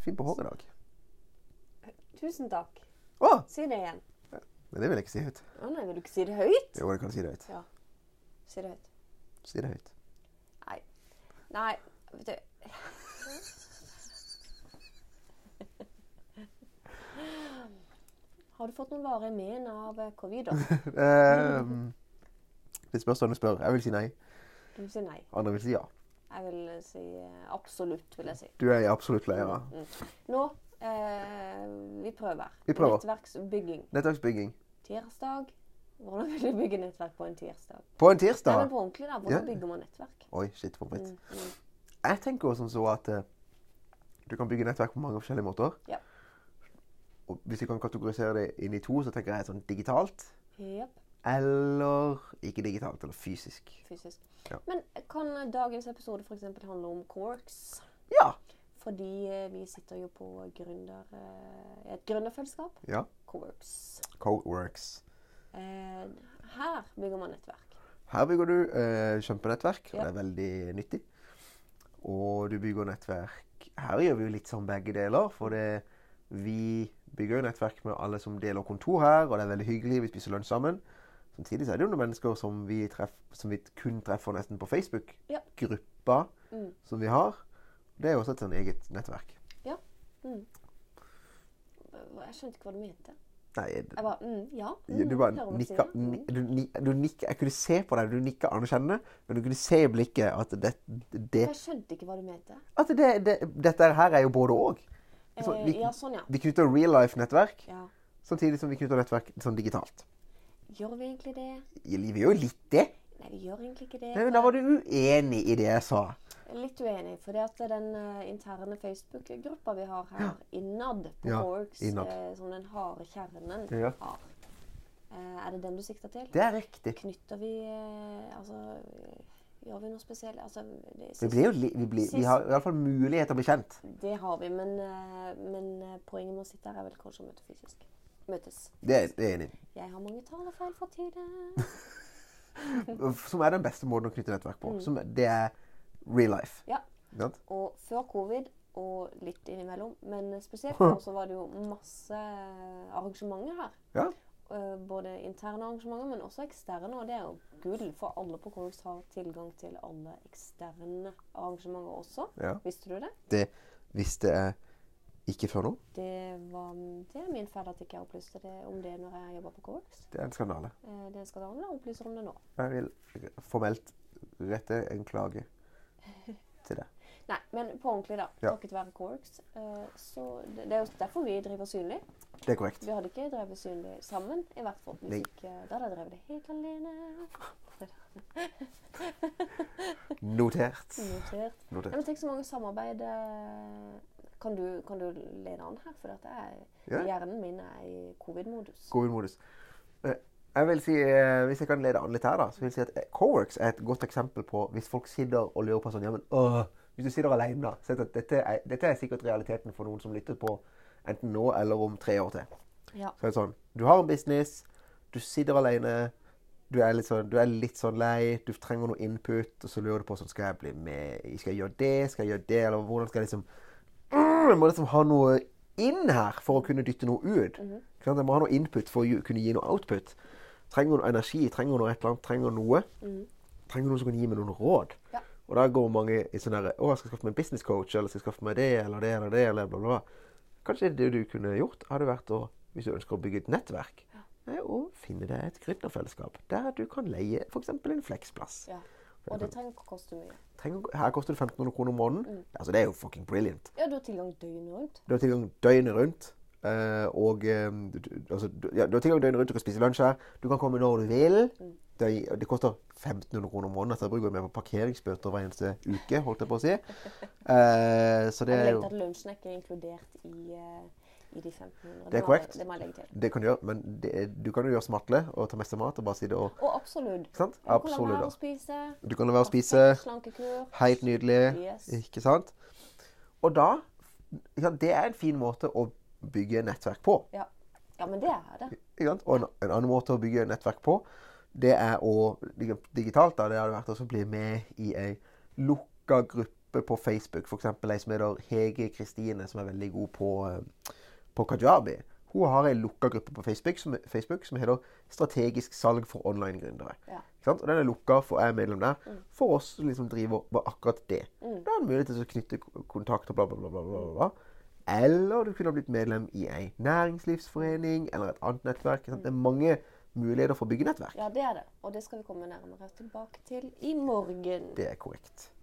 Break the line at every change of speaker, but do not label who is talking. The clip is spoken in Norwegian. Fin på håret i dag.
Tusen takk.
Å!
Si det igjen.
Men det vil jeg ikke si høyt.
Å nei, vil du ikke si det høyt?
Jo, jeg kan si det høyt.
Si det høyt.
Si det høyt.
Nei. Nei, vet du Har du fått noen varige men av eh, covid? da?
Ehm, det spørs hvem du spør. Jeg vil si nei.
Du vil si nei.
Andre vil si ja.
Jeg vil eh, si eh, absolutt, vil jeg si. Mm.
Du er i absolutt leira.
Nå eh, vi prøver.
Vi prøver.
Nettverksbygging.
Nettverksbygging.
Tirsdag. Hvordan vil du bygge nettverk på en tirsdag?
På en
Nei,
tirsdag!
men på ordentlig, da.
Ja.
Hvordan bygger man nettverk?
Oi, shit, for fritt. Jeg tenker jo som så at eh, du kan bygge nettverk på mange forskjellige måter.
Ja.
Og hvis vi kan kategorisere det inn i to, så tenker jeg sånn digitalt
Jep,
eller ikke digitalt, eller fysisk.
fysisk.
Ja.
Men kan dagens episode f.eks. handle om corks?
Ja.
Fordi eh, vi sitter jo på gründer, eh, et gründerfellesskap,
Ja.
Coworks.
Coworks.
Eh, her bygger man nettverk.
Her bygger du eh, kjempenettverk, og
Ja.
det er veldig nyttig. Og du bygger nettverk Her gjør vi jo litt sånn begge deler, for det, vi bygger jo nettverk med alle som deler kontor her, og det er veldig hyggelig, vi spiser lunsj sammen. Samtidig så er det jo noen mennesker som vi, treff, som vi kun treffer nesten på Facebook.
Ja.
Gruppa
Mm.
som vi har. Det er jo også et sånn eget nettverk.
Hva- Jeg skjønte ikke hva du mente.
Nei, det-
Jeg bare mm, ja. Mm,
du bare
hører hva du
nikka,
sier. Mm.
ni, du, ni, du nikka Jeg kunne se på deg, du nikka anerkjennende, men du kunne se i blikket at det, det
Jeg skjønte ikke hva du mente.
At det, det, dette her er jo både og.
Eh,
Så vi-
ja, sånn, ja.
Vi knytter real life-nettverk
ja.
samtidig som vi knytter nettverk sånn digitalt.
Gjør vi egentlig det?
I livet er jo litt det.
Nei, vi gjør egentlig ikke det.
Nei, men Da var du uenig i det jeg sa.
Jeg er Litt uenig, for det at den eh, interne Facebook-gruppa vi har her innad på
Ja,
Coworks,
innad.
eh, som den harde kjernen
Ja.
har, eh, er det den du sikter til?
Det er riktig.
Knytter vi eh, Altså, eh, gjør vi noe spesielt? Altså, det,
Vi, blir jo li, vi, blir, vi har iallfall mulighet til å bli kjent.
det har vi, men, eh, men eh, poenget med å sitte her er vel kanskje å møte fysisk. Møtes.
Det er det er jeg enig. i.
Jeg har mange talefeil for tiden.
Som er den beste måten å knytte nettverk på. Som, det er real life.
Ja,
Ikke sant?
og før covid og litt innimellom, men spesielt nå så var det jo masse eh, arrangementer her.
Ja.
Eh, Både interne arrangementer, men også eksterne. Og det er jo gull, for alle på Corex har tilgang til alle eksterne arrangementer også.
Ja.
Visste du det?
Det visste jeg ikke før nå.
Det, var, det er min feil at ikke jeg opplyste det om det når jeg jobba på Corex.
Det er en skandale.
Eh, Det skal jeg opplyser om det nå.
Jeg vil formelt rette en klage til deg.
Nei, men på ordentlig, da.
Ja.
Takket være Corex. eh, Så det, det er jo derfor vi driver synlig.
Det er korrekt.
Vi hadde ikke drevet synlig sammen, i hvert fall. Hvis
Nei.
ikke, da hadde jeg drevet det helt alene.
Notert.
Notert. Nei,
Notert.
men tenk så mange samarbeid eh, kan du, kan du lede an her? For at jeg,
Ja.
hjernen min er i covid-modus.
Covid-modus. Eh, Jeg vil si, eh, Hvis jeg kan lede an litt her, da, så vil jeg si at eh, Coworks er et godt eksempel på hvis folk sitter og lurer på sånn ja, men, åh, Hvis du sitter alene, da. Så er det at dette, er, dette er sikkert realiteten for noen som lytter på enten nå eller om tre år til.
Ja.
Så er det sånn, Du har en business, du sitter alene, du er litt sånn, du er litt sånn lei, du trenger noe input, og så lurer du på sånn, skal jeg bli med, skal jeg gjøre det, skal jeg gjøre det, eller hvordan skal jeg liksom mm, Jeg må liksom ha noe inn her for å kunne dytte noe ut.
Mhm.
Ikke sant? Jeg må ha noe input for å gi- kunne gi noe output. Trenger noe energi, trenger noe et eller annet, trenger noe. Trenger noen som kan gi meg noen råd.
Mhm. Ja.
Og da går mange i sånn derre Å, jeg skal skaffe meg en business coach, eller skal jeg skaffe meg det, eller det, eller det, eller bla, bla. bla. Kanskje det du kunne gjort, hadde vært å, hvis du ønsker å bygge et nettverk, er å finne deg et gründerfellesskap der du kan leie f.eks. en fleksplass.
ja. Og det trenger ikke å koste mye.
Trenger, her koster det 1500 kroner om måneden.
Mm.
Altså, det er jo fucking brilliant.
Ja, du har tilgang døgnet rundt.
Du har tilgang døgnet rundt. eh, og eh, du, du- altså, du, ja, du har tilgang døgnet rundt, du kan spise lunsj her. Du kan komme når du vil.
Mm.
Det, er- det koster 1500 kroner om måneden. Så jeg bruker jeg mer på parkeringsbøter hver eneste uke, holdt jeg på å si. Eh, så det
Jeg
er
legger
jo
til at lunsjen er ikke inkludert i, eh, i de
Det
1500.
er
må jeg-
korrekt.
Det må jeg legge til.
Det kan du gjøre, men det, du kan jo gjøre smatle og ta mest mat og bare si det. Og,
Og absolutt.
ikke sant?
Du kan la være å
Absolutt. altså.
spise.
Du kan la være å spise.
Slankekur.
Helt nydelig.
Yes.
Ikke sant? Og da ja, Det er en fin måte å bygge nettverk på.
Ja. ja, men det er det.
Ikke sant? Og en, en annen måte å bygge nettverk på, det er å dig- digitalt da, det hadde vært også å bli med i ei lukka gruppe grupper på Facebook, f.eks. ei som heter Hege Kristine, som er veldig god på, eh, på kajabi. Hun har ei lukka gruppe på Facebook som, Facebook som heter 'Strategisk salg for online-gründere'.
Ja.
Ikke sant? Og den er lukka for jeg er medlem der, for oss som liksom driver med akkurat det. Da er det mulighet til å knytte k- kontakt og bla, bla, bla. bla, bla, bla. Eller du kunne ha blitt medlem i ei næringslivsforening eller et annet nettverk. Ikke sant? Det er mange muligheter for å bygge nettverk.
Ja, det er det. Og det skal vi komme nærmere tilbake til i morgen.
Det er korrekt.